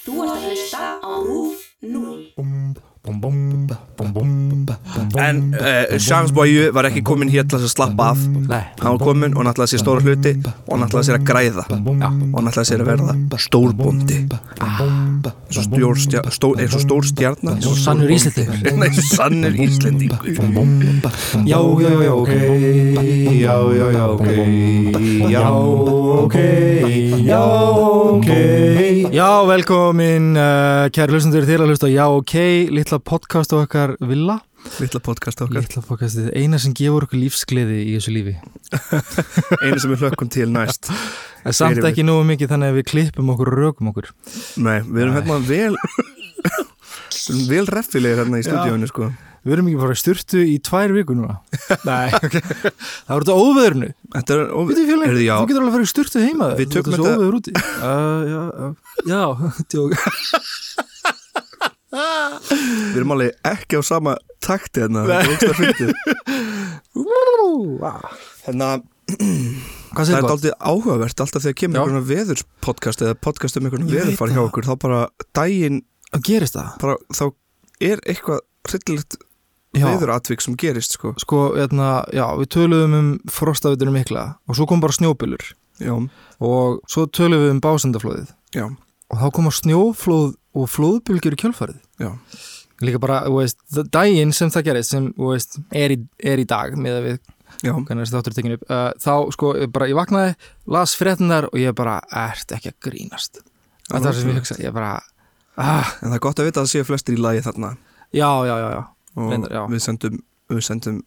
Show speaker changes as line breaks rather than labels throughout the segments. Þú ert að hlusta á RÚF 0.
En
En
uh, Charles Boyu var ekki kominn hér til þess að slappa af
Nei.
Hann var kominn og náttúrulega sér stóra hluti og náttúrulega sér að græða
Já.
og náttúrulega sér að verða stórbóndi Svo stjór, stjá, stó, eins og stór stjarnar
Svo sannur Íslendingur.
Nei, sannur Íslendingur
Já, já, já, ok Já, já, já, ok Já, ok Já, ok
Já, velkomin, uh, kæri hlustendur, þér að hlusta á Já, ok, litla podcast á okkar Villa,
Lilla podcast okkar
litla podcastið, eina sem gefur okkur lífsgleði í þessu lífi.
Einu sem við hlökkum til næst
En samt
Erum við-
ekki nógu mikið þannig að við klippum okkur og rökum okkur.
Nei, við erum hérna vel Við erum vel reffilegir hérna í stúdíónu sko
Við erum ekki bara í sturtu í tvær vikur núna. Nei, ok. Það voru þetta óveðurnu.
Þetta er óví
Þú fjöling,
Heyrðu, já.
þú getur alveg að fara í sturtu heima.
Við tökum
þetta. Þú er
þetta-
svo óveður úti. Uh, já, já, já, tjók.
Við erum alveg ekki á sama takti hérna Það er ógsta fyndið. Hérna,
Hvað
Það
segir
er
gott?
aldrei áhugavert alltaf þegar kemur
Já.
einhvern veðurspodcast eða podcast um einhvern
Ég veit
veðurfar hjá
það.
okkur þá bara daginn,
Hvað gerist það?
bara, þá er eitthvað hryllilegt
Já.
veðuratvík sem gerist sko
Sko, hérna, já, við töluðum um frostavitunum mikla og svo kom bara snjóbylur.
Já,
og svo tölum við um básendaflóðið
já,
og þá koma snjóflóð og flóðbylgjur í kjölfarið
já
líka bara, þú veist, daginn sem það gerist sem, þú veist, er í, er í dag með að við,
Já,
hvernig þessi þáttur er tekinu upp uh, þá, sko, ég bara, ég vaknaði las fréttinar og ég bara, ert ekki að grínast
Það
það
var
var sem
ótrúlegt.
ég hugsa, ég bara ah,
en það er gott að vita að það séu flestir í lagi þarna
já, já, já, já
og
Reyndar, já.
við sendum, við sendum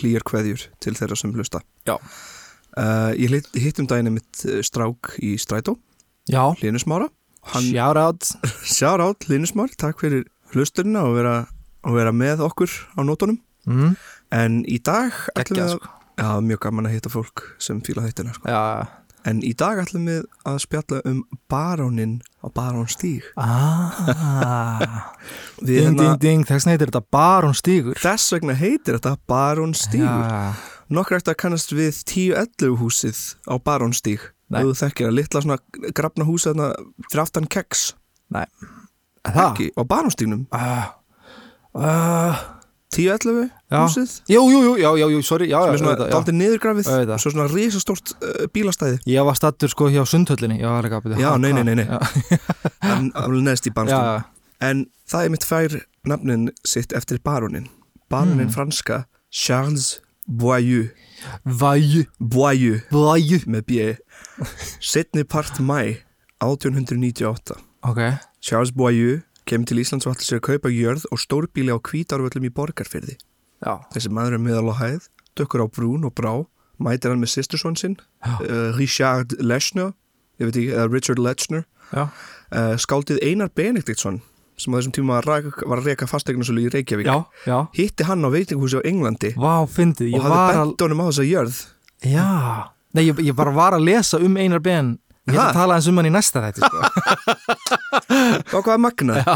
hlýjar kveðjur til þeirra sem hlusta
Já.
Eh, Ég hitt- hitt um daginn mitt strák í Strætó,
já,
Linusmára Hann
shout out
sjár átt Linusmár, takk fyrir hlusturina og vera, og vera með okkur á nótunum
mm,
En í dag ætlum
ekki
við
að,
að,
sko
já, mjög gaman að hitta fólk sem fíla þættina sko.
já,
En í dag ætlum við að spjalla um barónin á barónstíg
ah
Við
ding,
hérna,
ding, ding, þess vegna heitir þetta barón stígur
þess vegna heitir þetta barónstígur
já,
Nokkur eftir að kannast við 10-11 húsið á barónstíg
Nei.
Þú þekkir að litla svona grafna húsið þarna fyrir aftan keks
það
Ekki, á barónstígnum
Ah, ah,
10-11
Já.
húsið
jú, jú, jú, já, já, jú, sorry já, já,
Með svona
auðvitað, já.
daldið niðurgrafið
Auðvitað.
Svo svona risastórt uh, bílastæði
Ég var stattur sko hjá sundhöllinni Já, var ekki,
Já, nei, nei, nei, nei.
Já,
En alveg neðst í
já,
barónstígnum
já,
En það er mitt fær nafnin sitt eftir barónin. Barónin
Hmm.
franska Charles Boyeux,
væju,
Boyeux
væju
með B. Setni part mæ 1898.
Ok,
Charles Boyeux kemur til Íslands og ætla sér að kaupa jörð og stórbíli á kvítárvöllum í borgarfyrði.
já,
Þessi maður er meðal á hæð, dökkur á brún og brá, mætir hann með sýstursson sinn,
Já.
uh, Richard Lechner, ég veit ekki, eða Richard Lechner,
já,
uh, skáldið Einar Benediktsson, sem á þessum tíma rak- var að reka fasteignarsölu í Reykjavík.
já, já
hitti hann á veitinghúsi á Englandi
Vá, fyndið,
og
ég
hafði
var að
bent honum á þessa jörð
Já, nei, ég, ég bara var að lesa um Einar Ben Ég ætla
Ha?
að tala eins um hann í næsta þætti sko.
og hvað er magnað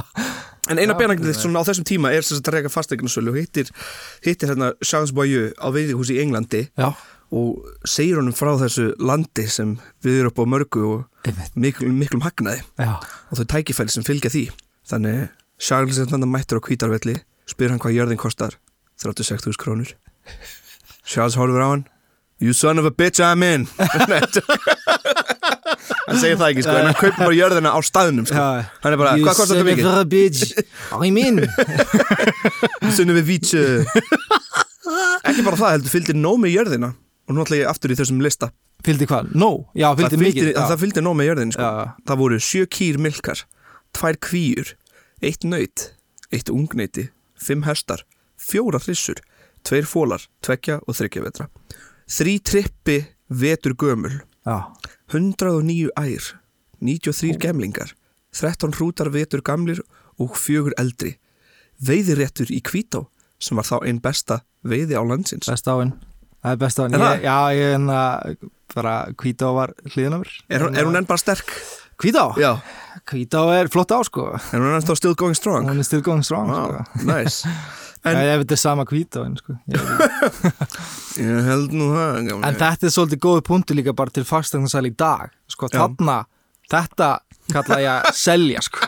en eina
Já,
benagnitt svona á þessum tíma er sem sagt að reyka fastegnarsölu og hittir, hittir hérna Charles Boyeux á veitinghúsi í Englandi
Já,
og segir honum frá þessu landi sem við erum upp á mörgu og
einmitt,
miklum, miklum hagnaði
já,
og þau tækifæli sem fylgja því þannig Charles er þannig mættur á kvítarvelli spyr hann hvað jörðin kostar 36.000 krónur Charles horfur á hann You son of a bitch I'm in Nei, Hann segir það ekki sko en hann kaupir bara jörðina á staðnum sko.
Já.
hann er bara,
You
hvað kostar
son
þetta
of
mikið?
a bitch I mean
Sunnum við vítsu Ekki bara það heldur, fylgdi nóg með jörðina og nú ætla ég aftur í þessum lista
Fylgdi hvað? No, já, fylgdi
það
mikið já.
það fylgdi nóg með jörðin sko.
Já.
það voru sjö kýr milkar tvær kvíur, eitt nöyt eitt ungneiti, fimm hestar fjóra hrissur, tveir fólar tvekja og þryggja vetra þrý trippi vetur gömul
já,
109 ær 93 gemlingar 13 hrútar vetur gamlir og fjögur eldri veiðiréttur í Kvító sem var þá einn besta veiði á landsins
best áinn Það er best áinn
Er það?
Ég- Já, ég er hérna bara Hvítá var hliðin á mér
er, hún- er hún enn bara sterk?
Hvítá?
Já,
Hvítá er flott á sko
er hún enn þá still going strong?
Hún er still going strong
Wow,
sko.
nice en-
en, Ef þetta er sama Hvítá en, sko. Ég veit ekki.
Ég held nú það gamli.
en þetta er svolítið góð punktu líka bara til fagstæðnarsæli í dag sko,
Já.
Þarna, þetta kalla ég að selja sko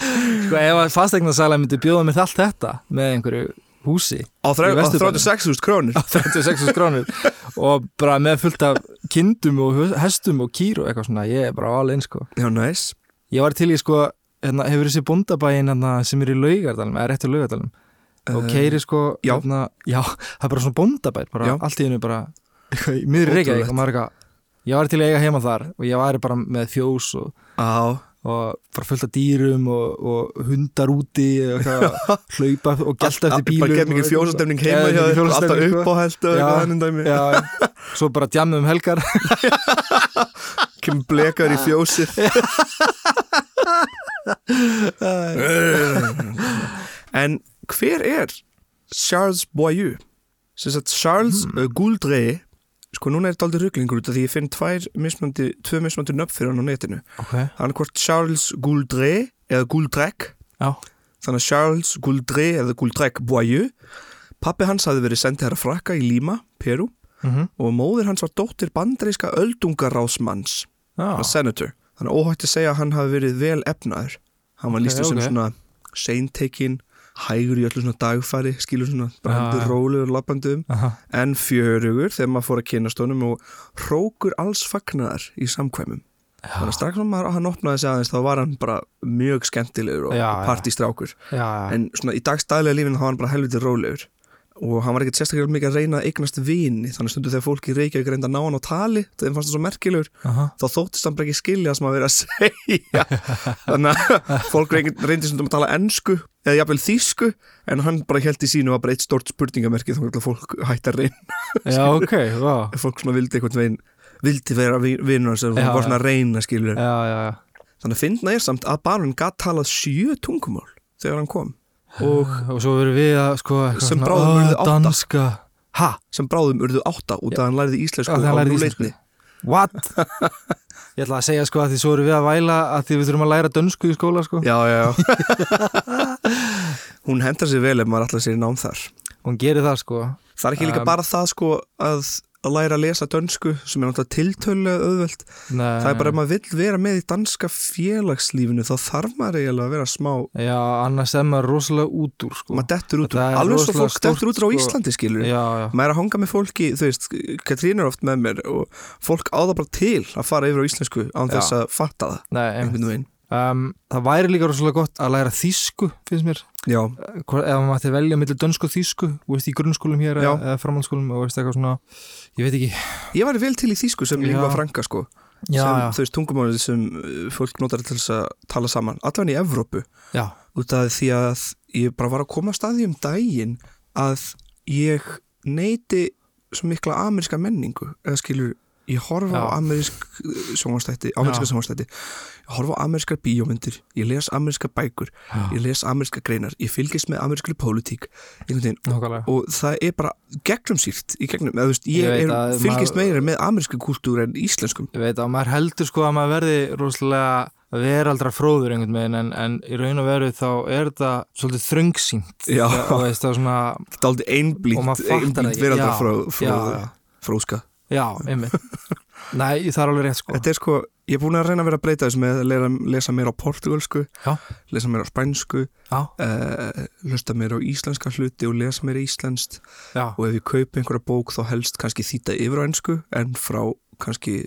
sko ef að fastegnarsæla myndi bjóða mér allt þetta með einhverju húsi
Á þrjá-
Í
á
Vesturbænum.
36.000 krónur
36 krónur og bara með fullt af kindum og hestum og kýr og eitthvað svona, ég er bara alveg eins sko
Já, næs
ég var til í sko, hérna, hefur þessi bóndabæin hérna, sem er í laugardalum, eða réttur laugardalum og
Eh,
keiri sko
já.
Hérna, já, það er bara svona bóndabæn bara
Já.
allt í hennu bara eitthvað í miðri reykjaði
Ótrúlegt.
og maður er eitthvað, ég var til í að eiga heima þar og ég væri bara með fjós og,
Á,
og bara fullt af dýrum og, og hundar úti og eitthvað, hlaupa og gelta eftir bílum
Bara gett mikið fjósastemning heima hjá þér Alltaf upp á heldu og eitthvað þannig dæmi
já, svo bara djammið um helgar
Kemur blekar í fjósið En hver er Charles Boyer? Sem sagt Charles
Hmm.
mm. Gouldre Sko núna er þetta aldrei rugglingur út af því ég finn tvær mismandi, tvö mismandi nöfn fyrir hann á netinu
ok,
Hann er hvort Charles Gouldre eða Gouldrek
já,
þannig að Charles Gouldre eða Gouldrek Boyer pappi hans hafði verið sendið herra frakka í Lima, Peru
mhm,
og móðir hans var dóttir bandaríska öldungarásmanns
já
ah. senator, þannig að óhætt að segja að hann hafi verið vel efnaður hann var
Ok,
okay, lístur sem
ok.
svona seintekinn, hægur í öllu svona dagfæri skilur svona, bara
Já,
hendur
já.
rólegur lappandum,
Aha.
en fjörugur þegar maður fór að kynast honum og hrókur alls fagnaðar í samkvæmum
Ah.
þannig að strax sem hann opnaði sig aðeins þá var hann bara mjög skemmtilegur og
Já, já.
partistrákur
já, já,
Ah. en svona í dagstæðlega lífin þá var hann bara helviti rólegur og hann var ekkert sérstaklega mikið að reyna að eignast vini þannig stundu þegar fólki reykja ekki reynda að ná hann á tali þegar fannst hann svo merkilegur
aha
þá þóttist hann bara ekki skilja það sem að vera að segja þannig að fólk reyndi, reyndi stundum að tala ennsku eða jafnvel þýsku en hann bara held í sínu var bara eitt stort spurningamerki þannig að fólk hætti að reyna
Já, ok, vá
fólk svona vildi einhvern veginn vildi vera vinnur hans og
Já,
var
já.
svona að reyna skilur
Já, já, já
þannig að finna er samt að barun gatt talað sjö tungumál þegar hann kom og
Og svo verðum við að sko eitthvað
Sem
svona,
bráðum
"Ó,
urðu átta."
Danska Ha?
sem bráðum urðu átta út að hann læriði íslensku
Já, það
á
lærði
núleitni
What? Ég ætla að segja sko að því svo erum við að væla að því við þurfum að læra dönsku í skóla sko
Já, já, já Hún hendar sér vel ef maður allar sér í nám þar
Hún gerir það sko
Það er ekki líka
Um,
bara það sko að að læra að lesa dönsku sem er náttúrulega tiltölu auðvelt,
Nei.
það er bara ef maður vill vera með í danska félagslífinu þá þarf maður eiginlega að vera smá
Já, annars er maður rosalega út úr sko
maður dettur út, úr-
Það er
alveg svo
rosalega
fólk dettur
stórt,
út úr á
sko.
Íslandi skilur
Já, já
maður er að hanga með fólki, þú veist Katrín er oft með mér og fólk á það bara til að fara yfir á íslensku án
Já.
þess að fatta það
Nei, einmitt.
einhvern veginn,
um, Það væri líka rosalega gott að læra þýsku finnst mér
já,
Hvor- Ef maður mætti velja millir dönsku og þýsku Þú veist í grunnskólum hér
Já.
eða eða framhaldsskólum og veist eitthvað svona Ég veit ekki
ég var vel til í þýsku sem
Já.
lingua franca sko sem,
Já,
þú veist, tungumálið sem uh, fólk notar til þess að tala saman, allan í
já,
Evrópu
já.
út af því að ég bara var að koma að staði um daginn að ég neyti svo mikla ameríska menningu eða skilur, ég horfa
Já.
á amerísk sjónvastætti, ameríska
Já.
sjónvastætti ég horfa á amerískar bíómyndir ég les ameríska bækur,
Já.
ég les ameríska greinar ég fylgist með amerískri pólitík einhvern veginn
Nákvæmlega
og það er bara gegnumsýrt í gegnum, eða þú veist, ég,
Ég veit
er,
að
fylgist
maður-
meira með amerísku kultúr en íslenskum
Ég veit að maður heldur sko að maður verði rosalega veraldra fróður einhvern veginn en, en í raun og veru þá er þetta svolítið þröngsýnt
Já.
og veist það er svona,
þetta er aldrei
Og
einblínt
maður fattar það
einblínt
ekki.
verandar
Já,
frá,
já,
frá,
já.
fróska
já, einmitt Nei, það er alveg rétt sko
þetta er sko, ég er búin að reyna að vera að breyta þessu með að lera, lesa mér á portugalsku
Já.
lesa mér á spænsku
Já,
uh, hlusta mér á íslenska hluti og lesa mér íslenskt
já,
og ef ég kaupi einhverja bók þá helst kannski þýta yfir á ensku en frá kannski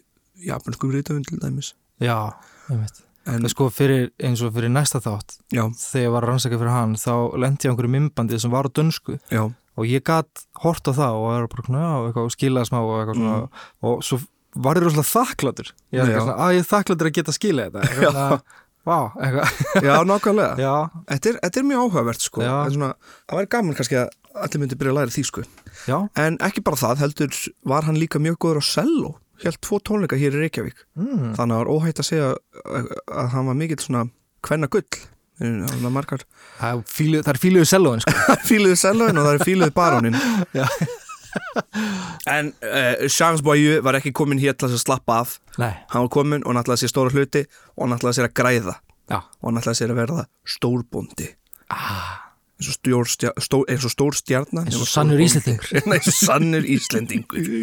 japanskum rítöfund til dæmis
já, einmitt
en
En sko fyrir, eins og fyrir næsta þátt
já,
þegar ég var að rannsaka fyrir hann þá lendi ég á einhverju mymbandi sem var á dönsku
já,
og ég gat hort á það og var bara svona, já, eitthvað, og skilaði smá og eitthvað svona
Mm.
og svo var ég rosalega þakkláttur ég var
Já.
eitthvað svona, að ég er þakkláttur að geta skilað þetta eitthvað svona, vá, eitthvað
já nákvæmlega
já,
þetta er, þetta er mjög áhugavert sko
Já.
En svona, það væri gaman kannski að allir myndi byrja að læra því sko
já,
En ekki bara það, heldur var hann líka mjög góður á selló Helt tvo tónleika hér í Reykjavík
mm.
Þannig að það var óhætt að segja að, að hann var mikill svona kvenna gull Það var margar
það er fíluð- það er fíluðu selóin sko.
fíluðu sellóin og það er fíluðu barónin
Já.
En uh, Charles Boyu var ekki komin hér til þess að slappa af
nei,
Hann var komin og hann ætlaði sér stóra hluti og hann ætlaði sér að græða
já,
og hann ætlaði sér að verða stórbóndi
ah,
eins og, stjór, stjá, stó, eins og stór stjarnan
eins og sannur íslendingur
Nei, sannur Íslendingur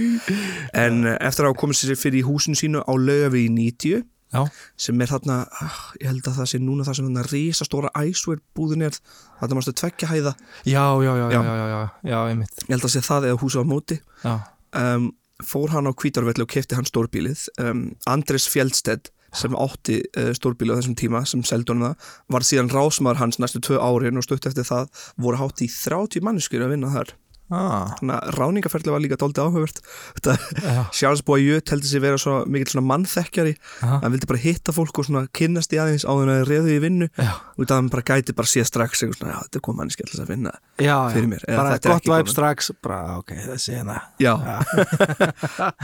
En eh, eftir að hafa komið sér fyrir í húsinu sínu á laugavíði 90
Já.
sem er þarna, ah, ég held að það sé núna það sem þarna risastóra æsver búðin er þarna mástu tvekja hæða
já, já, já, já,
Já.
já, já, já, einmitt
ég held að sé það eða húsa á móti
já,
um, fór hann á kvítarvelli og kefti hann stórbílið um, Andres Fjeldstedt sem átti uh, stórbílið á þessum tíma sem seldi honum það, var síðan rásmaður hans næstu tvö árin og stutt eftir það voru hátt í 30 manneskjur að vinna þar
ah,
þannig að ráningaferli var líka dálítið áhugavert Þetta-
já,
Charles Boyer teldi sig vera svo mikill svona mannþekkjari
Aha.
hann vildi bara hitta fólk og svona kynnast í aðeins áður en að reðu í vinnu
já,
út af að hann bara gæti bara séð strax eitthvað svona, já þetta er komað mannskjall að vinna
já,
Fyrir mér, eða
bara
þetta er
gott
ekki
væp
komin.
strax bara, ok, þessi hérna
já,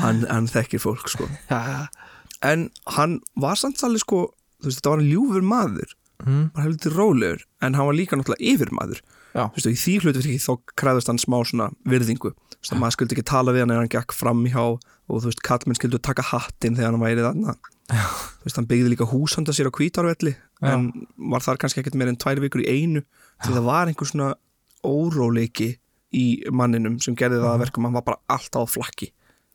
hann, hann þekkir fólk sko
já,
en hann var samt alveg sko þú veist þetta var hann ljúfur maður
mm,
bara heldur rólegur en hann var líka náttúrulega yfir maður
já,
þú veist og í því hlutverki þá kræðast hann smá svona virðingu þú veist að maður skildi ekki tala við hann en hann gekk fram í há og þú veist kallmenn skildu taka hattinn þegar hann væri þarna þú veist hann byggði líka húsanda sér á kvítárvelli
Já.
en var þar kannski ekkert meir en tvær vikur í einu því það var einhver svona óróleiki í manninum sem gerði það að verkum að hann var bara alltaf á flakki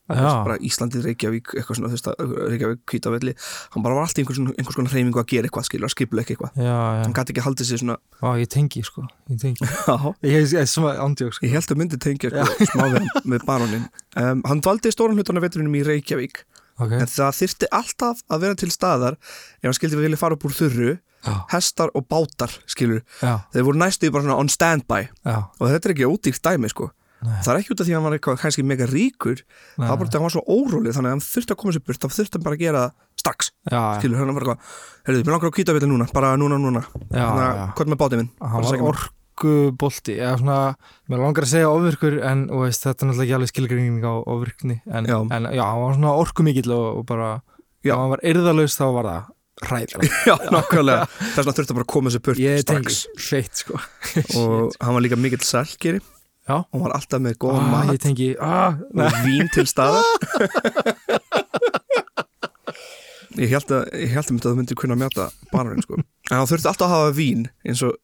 Þú
já,
veist, bara Íslandið, Reykjavík, eitthvað svona þú veist, að- Reykjavík, Kvítavelli, hann bara var alltaf einhvers, einhvers konar hreyfingu að gera eitthvað, skilur, að skipla ekki eitthvað
já, já,
hann gæti ekki haldið sér svona
já, ég tengi, sko ég tengi,
Já,
ég ég er svona andjók, sko
ég held að myndi tengja eitthvað smá við, með barónin um, hann dvaldi stóran hlutan af veturinum í Reykjavík
ok,
en það þyrfti alltaf að vera til staðar ef hann skildi við vilja fara upp úr þurru
já,
hestar og bátar, skilur
já,
þeir voru næstu bara svona on standby
já
og þetta er ekki ódýrt dæmi, sko
Nei.
það er ekki út af því að hann var eitthvað kannski mega ríkur það var bara því að hann var svo órólið þannig að hann þurfti að koma sér burt þá þurfti hann bara að gera það strax
já, já,
skilur, hann var bara eitthvað, heyrðu, mér langar á kvítavelli núna bara núna, núna,
já,
þannig
já.
að hvað með bátið minn
hann
Bara
var
sækja mig.
orkubolti eða svona, mér langar að segja ofvirkur en þú veist, þetta er náttúrulega ekki alveg skilgreining á ofvirkni en já.
Já.
en já, hann var svona orkumikill og, og bara, já.
Já.
ef hann var yrðalaus þá var það hræðilegt
já, nákvæmlega, þess vegna þurfti hann bara að koma sér burt
ég tengi,
strax
hreitt sko
og hann var líka mikill sælgeri
Já.
og var alltaf með góða
ah,
mat
ég tengi, ah, nei,
og vín til staðar ég held að ég held að myndi að þú myndir kunna að mjáta barnarinn sko. en hann þurfti alltaf að hafa vín eins og,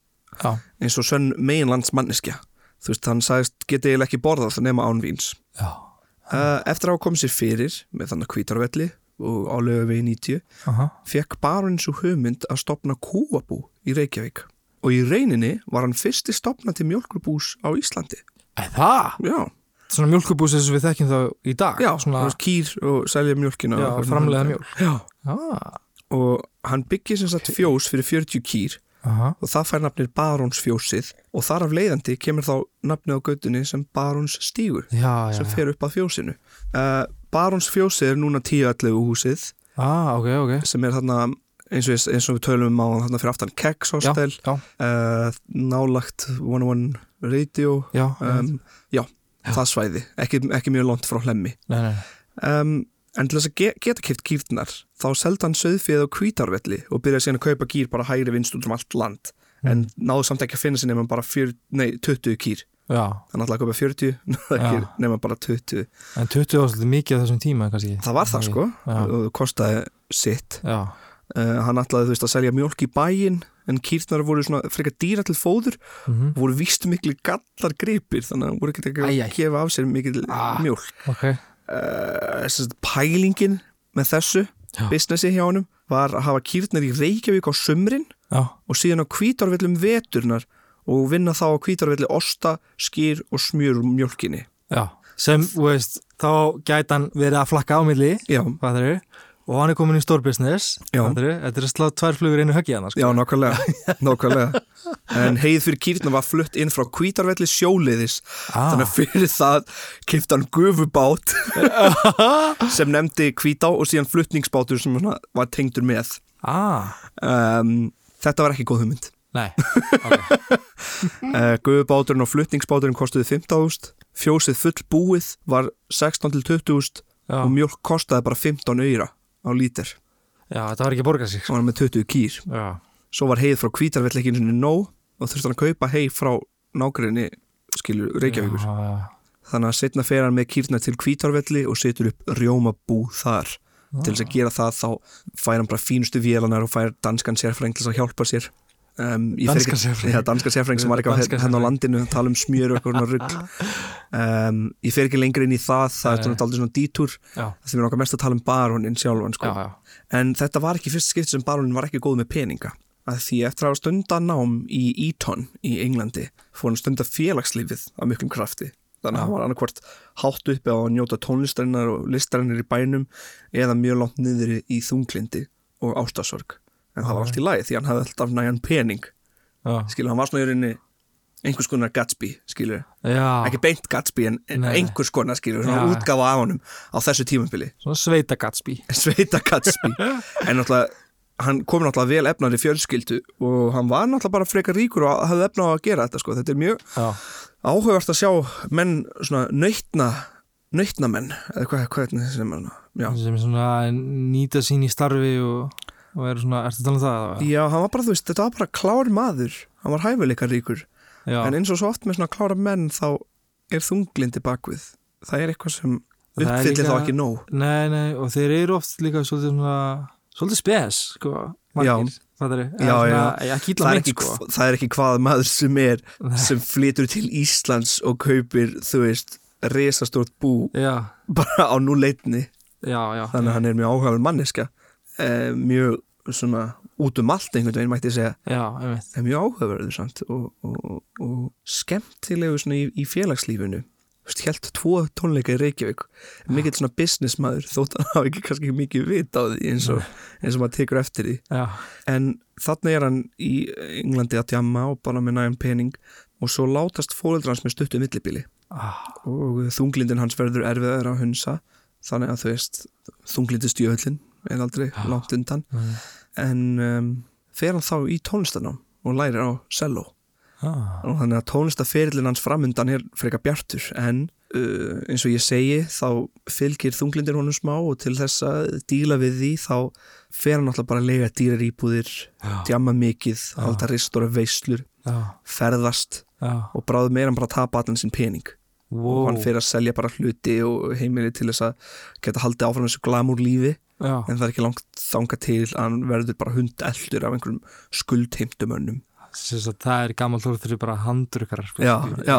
já,
eins og sönn meginlands manneskja þú veist, hann sagðist getið eiginlega ekki borðað nema án víns
já,
uh, eftir að hafa komið sér fyrir með þannig kvítarvelli og álöfu við 90
aha,
fekk barinn svo hugmynd að stopna kúabú í Reykjavík og í reyninni var hann fyrsti stopnandi mjölkurbús á Íslandi
eða það
já,
svona mjölkubús eins og við þekkjum þá í dag
já
svona,
þú veist, kýr og selja mjölkina
já,
og eitthvað
framleiða
svona.
mjölk
já.
ah,
og hann byggir sem sagt fjós fyrir 40 kýr
aha,
og það fær nafnir barónsfjósið og þar af leiðandi kemur þá nafnið á gautunni sem barónsstígur
já, já,
sem
já,
fer upp að fjósinu uh, barónsfjósið er núna 10-11 húsið
ah, ok, ok
sem er þarna eins og, eins og við tölum um á þarna fyrir aftan Keks
já,
Hostel
já,
uh, nálagt 101 radio
já,
um, já, það svæði ekki, ekki mjög langt frá hlemmi
nei, nei,
um, en til þess að ge geta kipt kýrnar þá seldi hann söðfið á kvítárvelli og byrjaði síðan að kaupa kýr bara hægri vinst út um allt land
Mm.
en náðu samt ekki að finna sér nema bara fjör, nei, 20 kýr
já
hann ætlaði að kaupa 40 náði ekki
Já.
nema bara 20
en 20 var svolítið mikið á þessum tíma kannski
það var það sko
Já.
og kostaði sitt
já,
uh, hann ætlaði þú veist að selja mjólk í bæinn en kýrnar voru svona frekar dýra til fóður
mhm,
voru víst miklu gallar gripir þannig að hann voru
Æ,
ekki
æ.
að gefa af sér mikil
Ah.
mjólk
ok
uh, pælingin með þessu
Já.
businessi hjá honum var að hafa kýrnar í Reykjavík á sumrin
já,
og síðan á kvítarvillum veturnar og vinna þá á kvítarvilli osta, skýr og smjör úr mjólkinni
já sem, þú veist, þá gæti hann verið að flakka á milli
já,
hvað það eru og hann er komin í stór business
Já.
hvað það eru, þetta er að slá tvær flugur í einu höggi hann sko.
já nákvæmlega, nákvæmlega en heið fyrir kýrnar var flutt inn frá kvítarvilli sjóliðis
Ah.
þannig að fyrir það kipta hann gufubát sem nefndi kvítá og síðan fluttningsbátur sem svona var tengdur með
ah,
um, þetta var ekki góð hugmynd
nei okay.
Uh, Guðubáturinn og flutningsbáturinn kostuði 15.000, fjósið full búið var 16-20.000
já.
og mjölk kostaði bara 15 öyra á lítir
já, þetta var ekki að borga sig
og
sko.
hann var með 20 kýr.
já,
Svo var heið frá kvítarvill ekki einu sinni nóg og þurfti hann að kaupa heið frá nágrinni skilur Reykjavíkur.
já, já.
Þannig að setna fer hann með kýrna til kvítarvelli og setur upp rjómabú þar.
Ah.
Til þess að gera það þá fær hann bara fínustu vélanar og fær danskan sérfræng til þess að hjálpa sér. um,
Danskan sérfræðing.
ja, danska sérfræðing sem var eitthvað
Danskan
hérna- hérna á landinu að tala um smjör og eitthvað svona rugg um, ég fer ekki lengra inn í það það
Nei.
er svona aldrei svona dítúr
já,
því mér okkar mest að tala um barónin sjálfan
já,
sko.
já,
en þetta var ekki fyrst skipt sem barónin var ekki góð með peninga að því eftir að hafa stundað nám í Eton í Englandi fór hann stunda félagslífið af miklum krafti þannig að hann var annarkvort hátt uppi á að njóta tónlistarinnar og listarinnar í bænum eða mjög langt niður í þunglindi og ástasorg en það var allt í lagi því hann hafði alltaf næjan pening
já,
skilur, hann var svona í rauninni einhvers konar Gatsby, skilur
já.
ekki beint Gatsby en en
Nei, nei.
einhvers konar skilur, svona
Já.
útgáfa af honum á þessu tímambili
svona sveita Gatsby
Sveita Gatsby en náttúrulega hann kom náttúrulega vel efnari fjölskyldu og hann var náttúrulega bara frekar ríkur og hafði efna á að gera þetta sko. þetta er mjög
já,
áhugavert að sjá menn svona nöytna nöytnamenn eða hvað, hvað er þetta sem er já.
sem svona nýta sín í starfi og, og er svona, ertu að tala um það? eða?
já, hann var bara, þú veist, þetta var bara klár maður hann var hæfileika ríkur
Já,
en eins og svo oft með svona klára menn þá er þunglindi bakvið það er eitthvað sem
Það er
uppfyllir
líka-
þá ekki nóg
nei, nei, og þeir eru oft líka svolítið svona, svolítið spes sko, margir, það er
Já,
ekki illa
það er
mynd
ekki,
sko
það er ekki hvað maður sem er
Nei.
sem flytur til Íslands og kaupir, þú veist, resastort bú
já,
bara á núleitni
já, já,
þannig að hann er mjög áhugaður manneska eh, mjög svona út um allt einhvern veginn mætti ég segja
já, einmitt
það er mjög áhugaverður samt og, og, og skemmtilegu svona í, í félagslífinu Þú veist, Helt tvo tónleika í Reykjavík mikill svona businessmaður þótt að hann hafa ekki kannski mikið vit á því eins og, eins og maður tekur eftir því
já,
En þannig er hann í Englandi að tjamma og bara með nægum pening og svo látast fóreldra hans með stuttu millibili
ah,
og þunglindin hans verður erfiðar að hunsa þannig að þú veist þunglindistjöðlin er aldrei langt undan
mm,
en um, fer hann þá í tónlistanám og lærir á cello
ah,
og þannig að tónlistaferillin hans framundan er frekar bjartur en uh, eins og ég segi þá fylgir þunglindir honum smá og til þess að díla við því þá fer hann alltaf bara að lega dýrar íbúðir
Já.
djama mikið, halda ristur af veislur
já,
ferðast
já
og bráðum meira hann bara að tapa allan sinn pening og
wow,
hann fer að selja bara hluti og heimili til þess að geta haldið áfram þessu glamúr lífi
já,
en það er ekki langt þanga til að hann verður bara hundeldur af einhverjum skuldheimtumönnum
þess að það er gammal þór þeir eru bara handrukar sko,
já, já,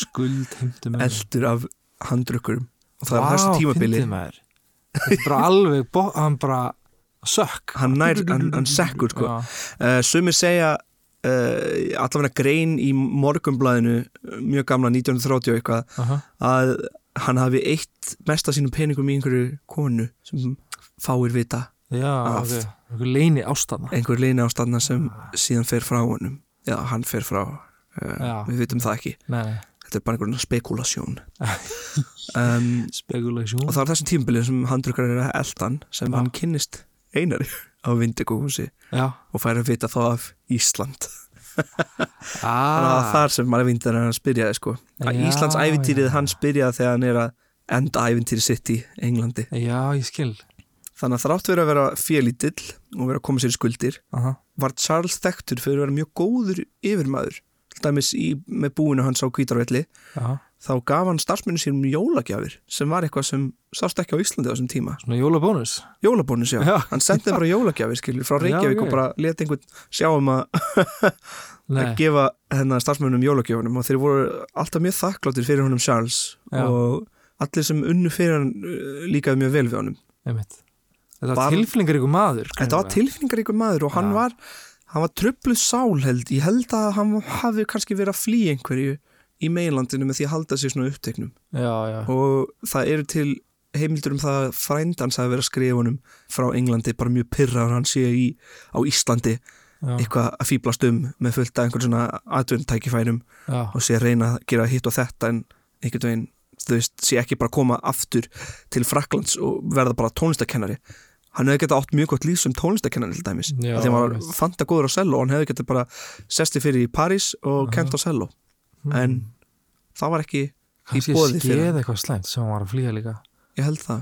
skuld heimtum
eldur af handrukkurum og það er á þessu tímabili
bara alveg, bo- hann bara sökk
hann nær, hann, hann sekkur sko
Já.
uh, sumir segja uh, allavega grein í morgumblæðinu mjög gamla 1930 og eitthvað
Aha.
að hann hafi eitt mest af sínum peningum í einhverju konu sem fáir vita
Já,
Aft.
ok, einhver leini ástana
einhver leina ástæðna sem síðan fer frá honum eða hann fer frá uh,
Já.
við vitum það ekki,
Nei,
þetta er bara einhverjum spekulasjón um,
spekulasjón
og það er þessum tímbilið sem handrukar er að eldan sem
Já.
hann kynnist einari á Vindigóhúsi
Já,
og fær að vita þá af Ísland þannig að
ah,
þar sem maður vindur að hann spyrjaði sko. að
Já,
Íslands ævintýrið
já.
hann spyrjaði þegar hann er að enda ævintýri sitt í Englandi
já, ég skil
Þannig að þrátt fyrir að vera félítill og vera að koma sér í skuldir
Aha.
var Charles þekktur fyrir að vera mjög góður yfirmaður. Til dæmis í, með búinu hans á kvítarvelli
Já,
þá gaf hann starfsmennu sínum jólagjafir sem var eitthvað sem sást ekki á Íslandi á þessum tíma.
svona jólabónus
Jólabónus, já.
Já.
Hann sendi bara jólagjafir skilur frá
Já,
Reykjavík
ok.
og bara leti einhvern sjá um að, að
Nei,
gefa hennar starfsmennum jólagjafunum og þeir voru alltaf mjög þakkláttir fyrir honum Charles
Já.
og allir sem unnu fyrir hann uh, líkaði mjög vel við honum.
einmitt Þetta var
Bara-
tilflingar ykkur maður
Þetta var tilfinningaríkur maður og hann
Já.
var hann var tröfluð sál held ég held að hann hafi kannski verið að flýja einhverju í meilandinu með því að halda sér svona uppteknum
Já, já,
og það eru til heimildur um það að frændans að vera skrifunum frá Englandi bara mjög pyrraður hann sé í, á Íslandi
já,
eitthvað að fýblast um með fullt af einhvern svona atvöndtækifærum
já,
og sé að reyna að gera hitt og þetta en einhvern veginn, þú veist, sé ekki bara að koma aftur til Fraklands og verða bara tónlistakennari hann hefði getað átt mjög gott líf sem tónlistakennari til dæmis,
Já,
af því að hann
einmitt.
var fanta góður á cello og hann hefði getað bara sesti fyrir í París og kent á cello en það var ekki í
Hmm. kannski
bóði fyrir
skeið Hmm. eitthvað slæmt sem hann var að flýja líka
ég held það,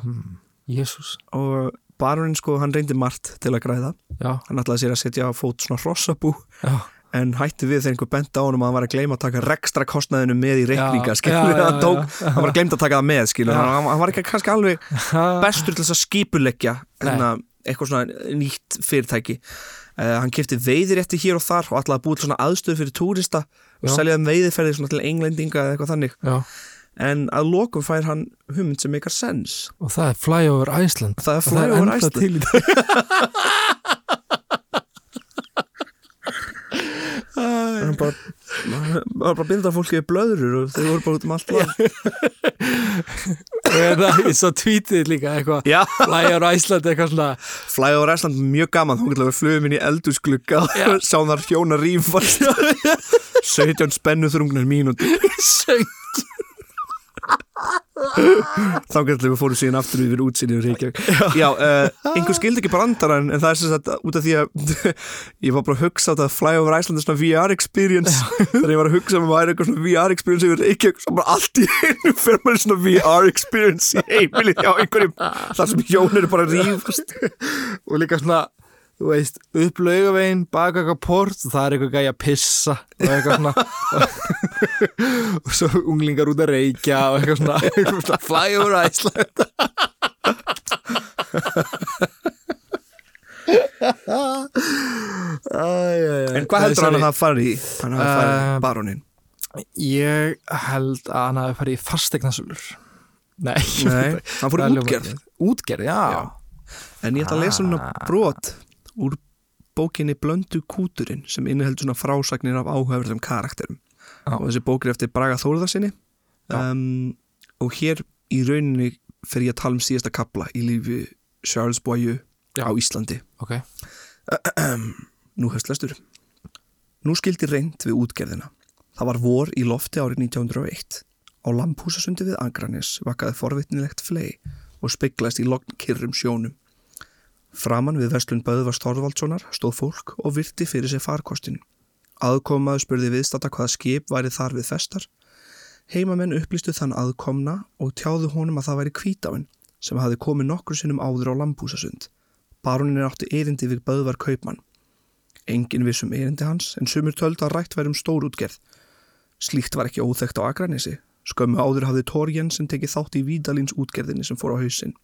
Jésús,
og barunin sko, hann reyndi margt til að græða,
já,
hann ætlaði sér að setja á fót svona hrossabú
já
en hætti við þegar einhver benda á honum að hann var að gleyma að taka rekstra kostnaðinu með í reikninga
Já,
skilur,
já, já,
hann, tók,
já.
hann var að gleyma að taka það með
Já.
skilur, hann, hann var ekki kannski alveg
Ha,
bestur til þess að skipuleggja hérna, eitthvað svona nýtt fyrirtæki Uh, hann kipti veiðirétti hér og þar og ætlaði að búið svona aðstöð fyrir túrista og
Já.
selja þeim veiðiferði svona til englendinga eða eitthvað þannig
Já.
en að lokum fær hann hugmynd sem meikar sens
Og það er Fly Over Iceland.
það
Og
er
það
flægur
er
og
ennþá
ræst
til í dag.
hann bara, hann var bara að binda fólki í blöðrur og þau voru bara út um allt land
Og er það, ég svo tweetið líka eitthvað.
Já.
Fly Over Iceland eitthvað svona.
Fly over Iceland mjög gaman, þá getur við flugum inn í eldusglugga og sáum þar hjóna rýmfast 17 spennu þrungnar mínúti
Söng.
þá getur við fórum síðan aftur yfir útsinni og reykja Já, uh, einhver skildi ekki brandaran en það er sem sagt út af því að ég var bara að hugsa á þetta að Fly over Iceland er svona VR experience þannig ég var að hugsa um að það er eitthvað svona VR experience yfir reykja og bara allt í einu fer maður í svona VR experience í heimilið hjá einhverjum þar sem hjón eru bara að rýfast
og líka svona þú veist, upp laugavegin, baka eitthvað port og það er eitthvað gæja að pissa og eitthvað svona og svo unglingar út að reykja og eitthvað svona, eitthvað svona fly over Iceland Æ, æ, æ.
En hvað heldur hann að það fari í? Hann að það fari
Eh,
í barónin
Ég held að hann hafi farið í fastegnasölur Nei,
Nei, hann fór í
Það er
útgerð.
ljómandi. Útgerð, já,
Já. En ég ætla að lesa um hana brot úr bókinni Blöndu kúturinn sem inniheldur svona frásagnir af áhugaverðum karakterum
Já.
og þessi bók er eftir Braga Þórðarsinni
Já.
um, og hér í rauninni fer ég að tala um síðasta kapla í lífi Charles Boyu
Já.
á Íslandi
Ok,
Nú hefst lestur. Nú skildi reynd við útgerðina. Það var vor í lofti árið 1901. Á lampúsasundi við Angranes vakaði forvitnilegt flei og speklaðist í logn kyrrum sjónum. Framan við Vestlund Böðvars Þorvaldssonar stóð fólk og virti fyrir sig farkostin. Aðkomaður spurði viðstata hvaða skip væri þar við festar. Heimamenn upplýstu þann aðkomna og tjáðu honum að það væri kvítáin sem hafði komið nokkur sinnum áður á lampúsasund. Baronin átti erindi við Böðvar Kaupmann. Engin vissum erindi hans en sumur töldu að rætt væri um stórútgerð. Slíkt var ekki óþekkt á Akranesi. Skömmu áður hafði Thor Jensen tekið þátt í Vídalins útgerðinni sem fór á hausinn.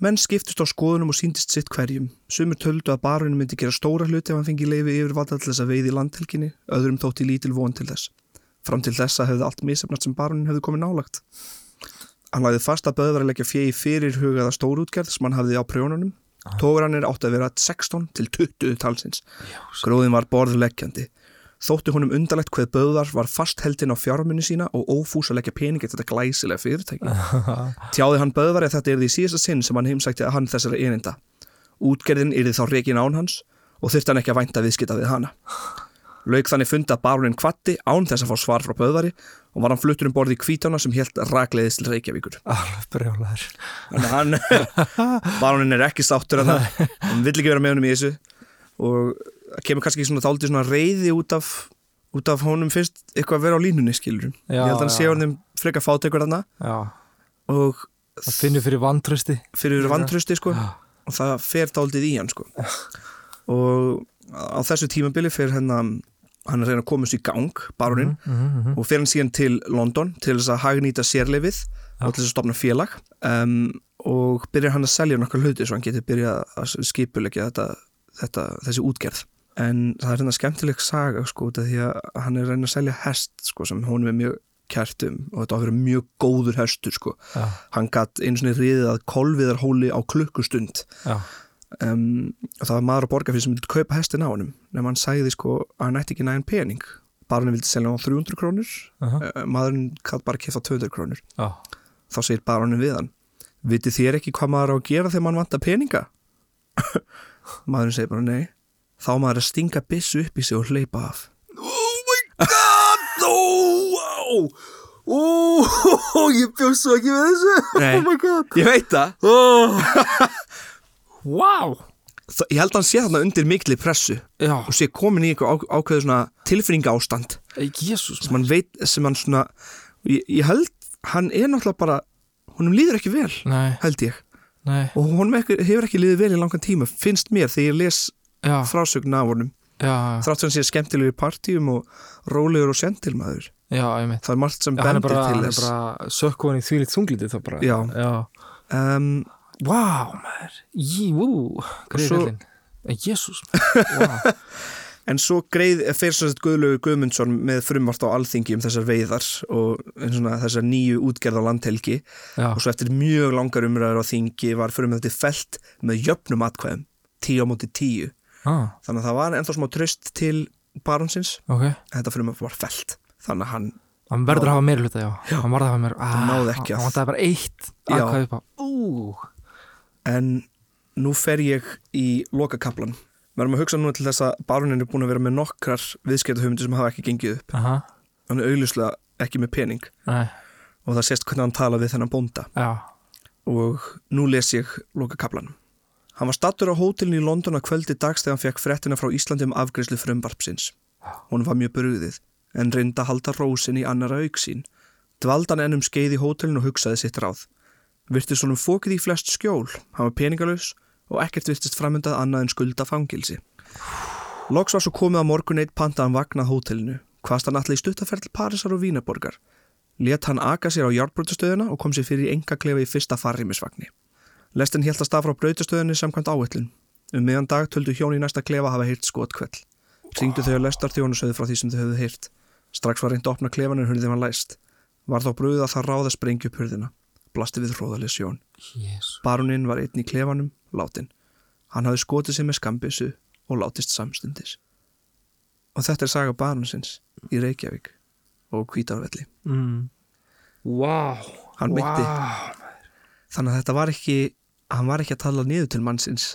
Menn skiptust á skoðunum og síndist sitt hverjum. Sumur töldu að barunin myndi gera stóra hluti ef hann fengi leifi yfir valda til þess að veiði í landhelginni, öðrum þótti lítil von til þess. Fram til þessa hefði allt misefnart sem barunin hefði komið nálagt. Hann lagði fast að böðvar að leggja fjegi fyrir hugaða stórútgerð sem hann hafði á prjónunum. Tógrannir átti að vera 16 til 20 talsins. Gróðin var borðleggjandi. Þótti honum undarlegt hvað Böðvar var fastheldin á fjármunni sína og ófús að leggja peningi til þetta glæsilega fyrirtæki. Tjáði hann Böðvar að þetta er því síðasta sinn sem hann heimsækti að hann þessara erinda. Útgerðin yrði þá reikin án hans og þurfti hann ekki að vænta viðskita við hana. Lauk þannig funda að barunin kvatti án þess að fá svar frá Böðvari og var hann fluttur um borði í kvítána sem helt rakleiðis til Reykjavíkur.
alveg brjólar
Þannig að hann barónin er ekki sáttur að það hann vill ekki vera með honum í þessu og það kemur kannski svona þáldi svona reyði út af út af honum fyrst eitthvað að vera á línunni skilur
Já,
ég held að hann
já.
sé honum frekar fátekur þarna
Já,
og
það finnur fyrir vantrösti
fyrir vantrösti sko og það fer þáldið í hann sko og á þessu tímabili fer hennan hann er að reyna að komast í gang, barónin og fer hann síðan til London til þess að hagnýta sérleifið og til þess að stopna félag um, og byrjar hann að selja nokkar hluti svo hann getur byrjað að skipulegja þetta, þetta, þessi útgerð en það er hérna skemmtileg saga sko út af því að hann er að reyna að selja hest sko sem honum er mjög kært um og þetta á að vera mjög góður hestur sko
Já.
hann gatt einu sinni riðið að kolviðarhóli á klukkustund
Já,
um, og það var maður að borga fyrir sem vildi kaupa hestin á honum nema hann sagði sko að hann ætti ekki nægin pening barnum vildi selja hann á 300 krónur uh
Aha.
maðurinn kallt bara kefta 200 krónur
já,
þá segir barnum við hann vitið þér ekki hvað maður á að gera þegar mann vantar peninga maðurinn segir bara nei þá á maður að stinga byssu upp í sig og hleypa af
Ó, ó, ó, ég bjóst svo ekki við þessu
Nei.
Oh my god
ég veit það
Wow
Þa- ég held að hann sé þarna undir mikli pressu
Já,
og sé komin í einhver á- ákveðu svona tilfinninga ástand
jésús
sem hann veit, sem hann svona ég, ég held, hann er náttúrulega bara honum líður ekki vel,
Nei,
held ég
nei,
og honum ekki, hefur ekki líðið vel í langan tíma finnst mér þegar ég les
já,
frásögna af honum
já,
þrátt sem sé skemmtilegur í partíum og rólegur og sentilmaður
já, ég mitt
það er margt sem
Já, hann er
bendir
bara,
til
hann er
þess
bara sökkvon í þvílitt þunglítið þá bara
Já.
já.
um,
Vá, maður, jú,
svo-
greiðin En jésús wow.
En svo greið fyrir svo sett Guðlaugur Guðmundsson með frumvart á alþingi um þessar veiðar og eins og svona, þessar nýju útgerð á landhelgi
Já,
og svo eftir mjög langar umræður á þingi var frumvartið felt með jöfnum atkvæðum, tíu á móti tíu
ah,
þannig að það var ennþá smá tröst til baronsins,
ok
en þetta frumvart var felt þannig að hann,
Hann verður að hafa meira hluta, já, Hann varður að hafa meira ah,
náði ekki að-
Hann vantaði bara eitt
Já.
aðkvæði upp á Ú,
en nú fer ég í lokakaplan við erum að hugsa núna til þess að baronin er búin að vera með nokkrar viðskiptahöfundir sem hafa ekki gengið upp
aha,
hann er augljóslega ekki með pening
nei,
og það sést hvernig hann tala við þennan bónda
já
og nú les ég lokakaplanum. Hann var stattur á hótelinu í London að kvöldi dags þegar hann fekk frettina frá Íslandi um afgreyslu frumvarpsins. Hún var mjög brugðið, en reynda að halda rósin í annara auksín. Dvaldi hann enn um skeið í hótelinu og hugsaði sitt ráð. Virtist honum fókið í flest skjól, hann var peningalaus og ekkert virtist framöndað annað en skulda fangilsi. Loks var svo komið að morgun eitt pantaðan vagn að hótelinu, hvast hann allir í stuttaferð til Parísar og Vínaborgar. Let hann aka sér á járnbrutastöðuna og kom sér fyrir í engaklefa í fyrsta farrimisvagni. Lestin hélt að stað frá brautastöðunni samkvæmt áætlun. Um miðan dag töldu hjón í næsta klefa hafa heyrt skotkvell. Ringdu þau að lestar þjónusöðu frá því sem þau höfðu heyrt. Strax var reynd að opna klefan en hurðin var læst. Var þá brúið að það ráða sprengju upp hurðina. Blasti við hróðaleg sjón.
Jésu
Baroninn var einn í klefanum, látin. Hann hafði skotið sig með skambissu og látist samstundis. Og þetta er saga baronsins í Reykjavík og Hvítárvelli.
mm. Wow
Hann meinti-
wow.
Þannig að þetta var ekki, hann var ekki að tala niður til mannsins.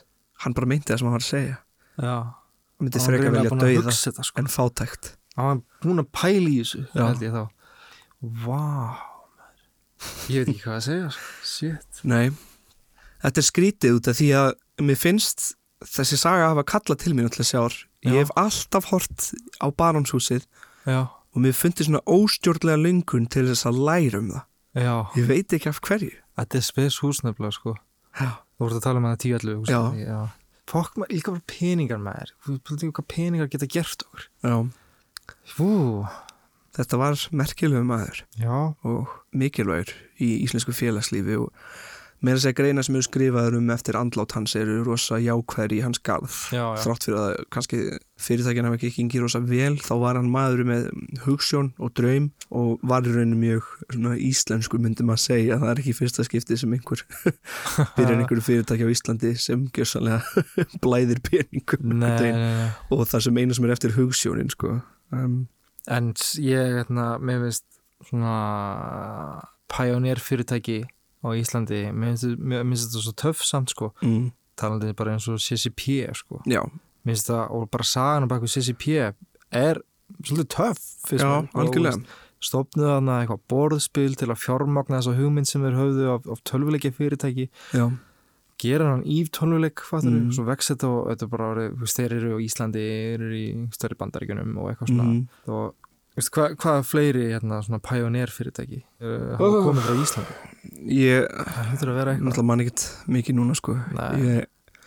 Hann bara meinti það sem hann var að segja.
Já
Hann myndi
Hann
frekar
greinilega
velja
búinn að
dauða
hugsa þetta, sko.
en fátækt.
Hann var búin að pæla í þessu,
Já.
held ég þá Vá, wow, ég veit ekki hvað að segja sko. Shit
Nei, þetta er skrítið út af því að mér finnst þessi saga hafa kallað til mín alltaf sjár. Ég
Já.
hef alltaf hort á barónshúsið
Já,
og mér fundið svona óstjórnlega löngun til þess að læra um það.
já,
Ég veit ekki af hverju.
þetta er spes húsnefnilega sko
Já,
Þú voru að tala um hana 10-11
Já.
húsnæði, já. Fokk maður, líka bara peningar maður Þú veist ekki um hvað peningar geta gert okkur
já.
Fú,
Þetta var merkilegu maður.
já,
og mikilvægur í íslensku félagslífi og meira að segja greina sem eru skrifaður um eftir andlátt hans eru rosa jákvæður í hans garð
já, já.
þrátt fyrir að kannski fyrirtækjan hafa ekki gengið rosa vel þá var hann maður með hugssjón og draum og var í rauninu mjög svona, íslensku myndum að segja það er ekki fyrsta skipti sem einhver byrjar einhverju fyrirtæki á Íslandi sem gjössanlega blæðir peningum
Nei,
einhvern
nei,
veginn.
nei.
og það sem eina sem er eftir hugssjónin sko. um,
En s- ég, hérna, mér finnst svona pioneer fyrirtæki á Íslandi Mér finnst- mér- mér finnst þetta svo töff samt sko
mm,
talandi bara eins og CCP sko
já,
Mér finnst það, og bara sagan á baku CCP E er svolítið töff finnst
já,
mér. Og,
algjörlega
stopnuðu hann eitthvað borðspil til að fjármagna þessa hugmynd sem þeir höfðu af, af tölvuleikja fyrirtæki
já,
gera hann í tölvuleik fattur
Mm.
mm. svo vex þetta og þetta er bara orðið, þú veist, þeir eru á Íslandi, þeir eru í stærri bandaríkjunum og eitthvað svona
Mm.
og veist, hva, hvað er fleiri hérna, svona pioneer fyrirtæki uh, hafa komið frá Íslandi
ég
það hlutur að vera eitthvað
náttúrulega mann ekkert mikið núna sko
Nei.
ég,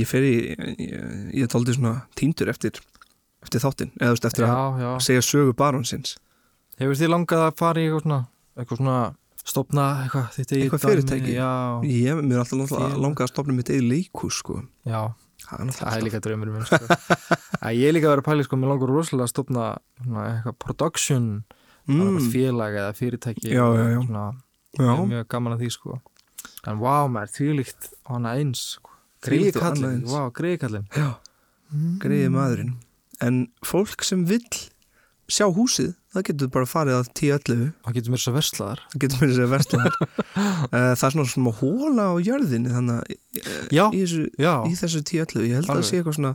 ég fer í ég, ég taldi svona tíndur eftir eftir þáttinn, eða þú veist eftir
já, já.
að segja sögu baronsins
hefur þið langað að fara í eitthvað svona, eitthvað svona stopna eitthvað þitt eigið
Eitthvað
dæmi?
fyrirtæki?
já,
ég mér er alltaf náttúrulega
Félag.
langað að stopna mitt eigið leikhús sko
já
það er
Það er
náttúrulega
líka draumur minn sko. Að Ég er líka að vera að pæli sko, mér langar rosalega að stopna svona, eitthvað production mm.
mm,
félag eða fyrirtæki
Já, já, já.
Svona,
já,
ég er mjög gaman að því sko. En vá, maður, þvílíkt og hana eins sko.
Þvílíkt og annað
Greiðkallin,
eins.
vá, greiðkallin
já
Mm.
greiði maðurinn en fólk sem vill sjá húsið, það getur bara farið að 10-11,
Það getur mér svo verslaðar
það getur mér að segja verslaðar það er svona svona hóla á jörðinni þannig að
Já,
í þessu,
já,
í þessu 10-11 ég held
Alveg.
að það sé eitthvað svona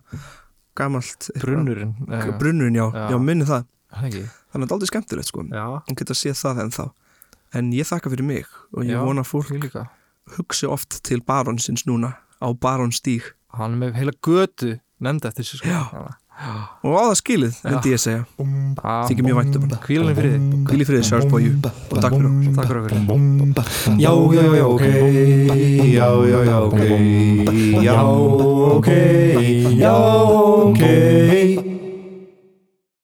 gamalt
brunnurinn eh,
Brunnurinn, já,
Já.
já, minni það
ekki.
Þannig að það er aldrei skemmtilegt, sko
Já,
Hún geta að sé það ennþá En ég þakka fyrir mig og ég
Já.
vona að fólk
því líka
hugsi oft til baronsins núna á baronstíg
Hann er með heila götu nefnda eftir sér sko.
Já.
Þannig
og á það skilið, myndi ég segja
að-
Þykir mjög vænt um
Já,
þetta
Hvílan í friði
Hvíl í friði, Charles Bóju og takk fyrir okkur
Takk fyrir okkur
Já, já, já, ok Já, já, já, ok Já, ok Já, ok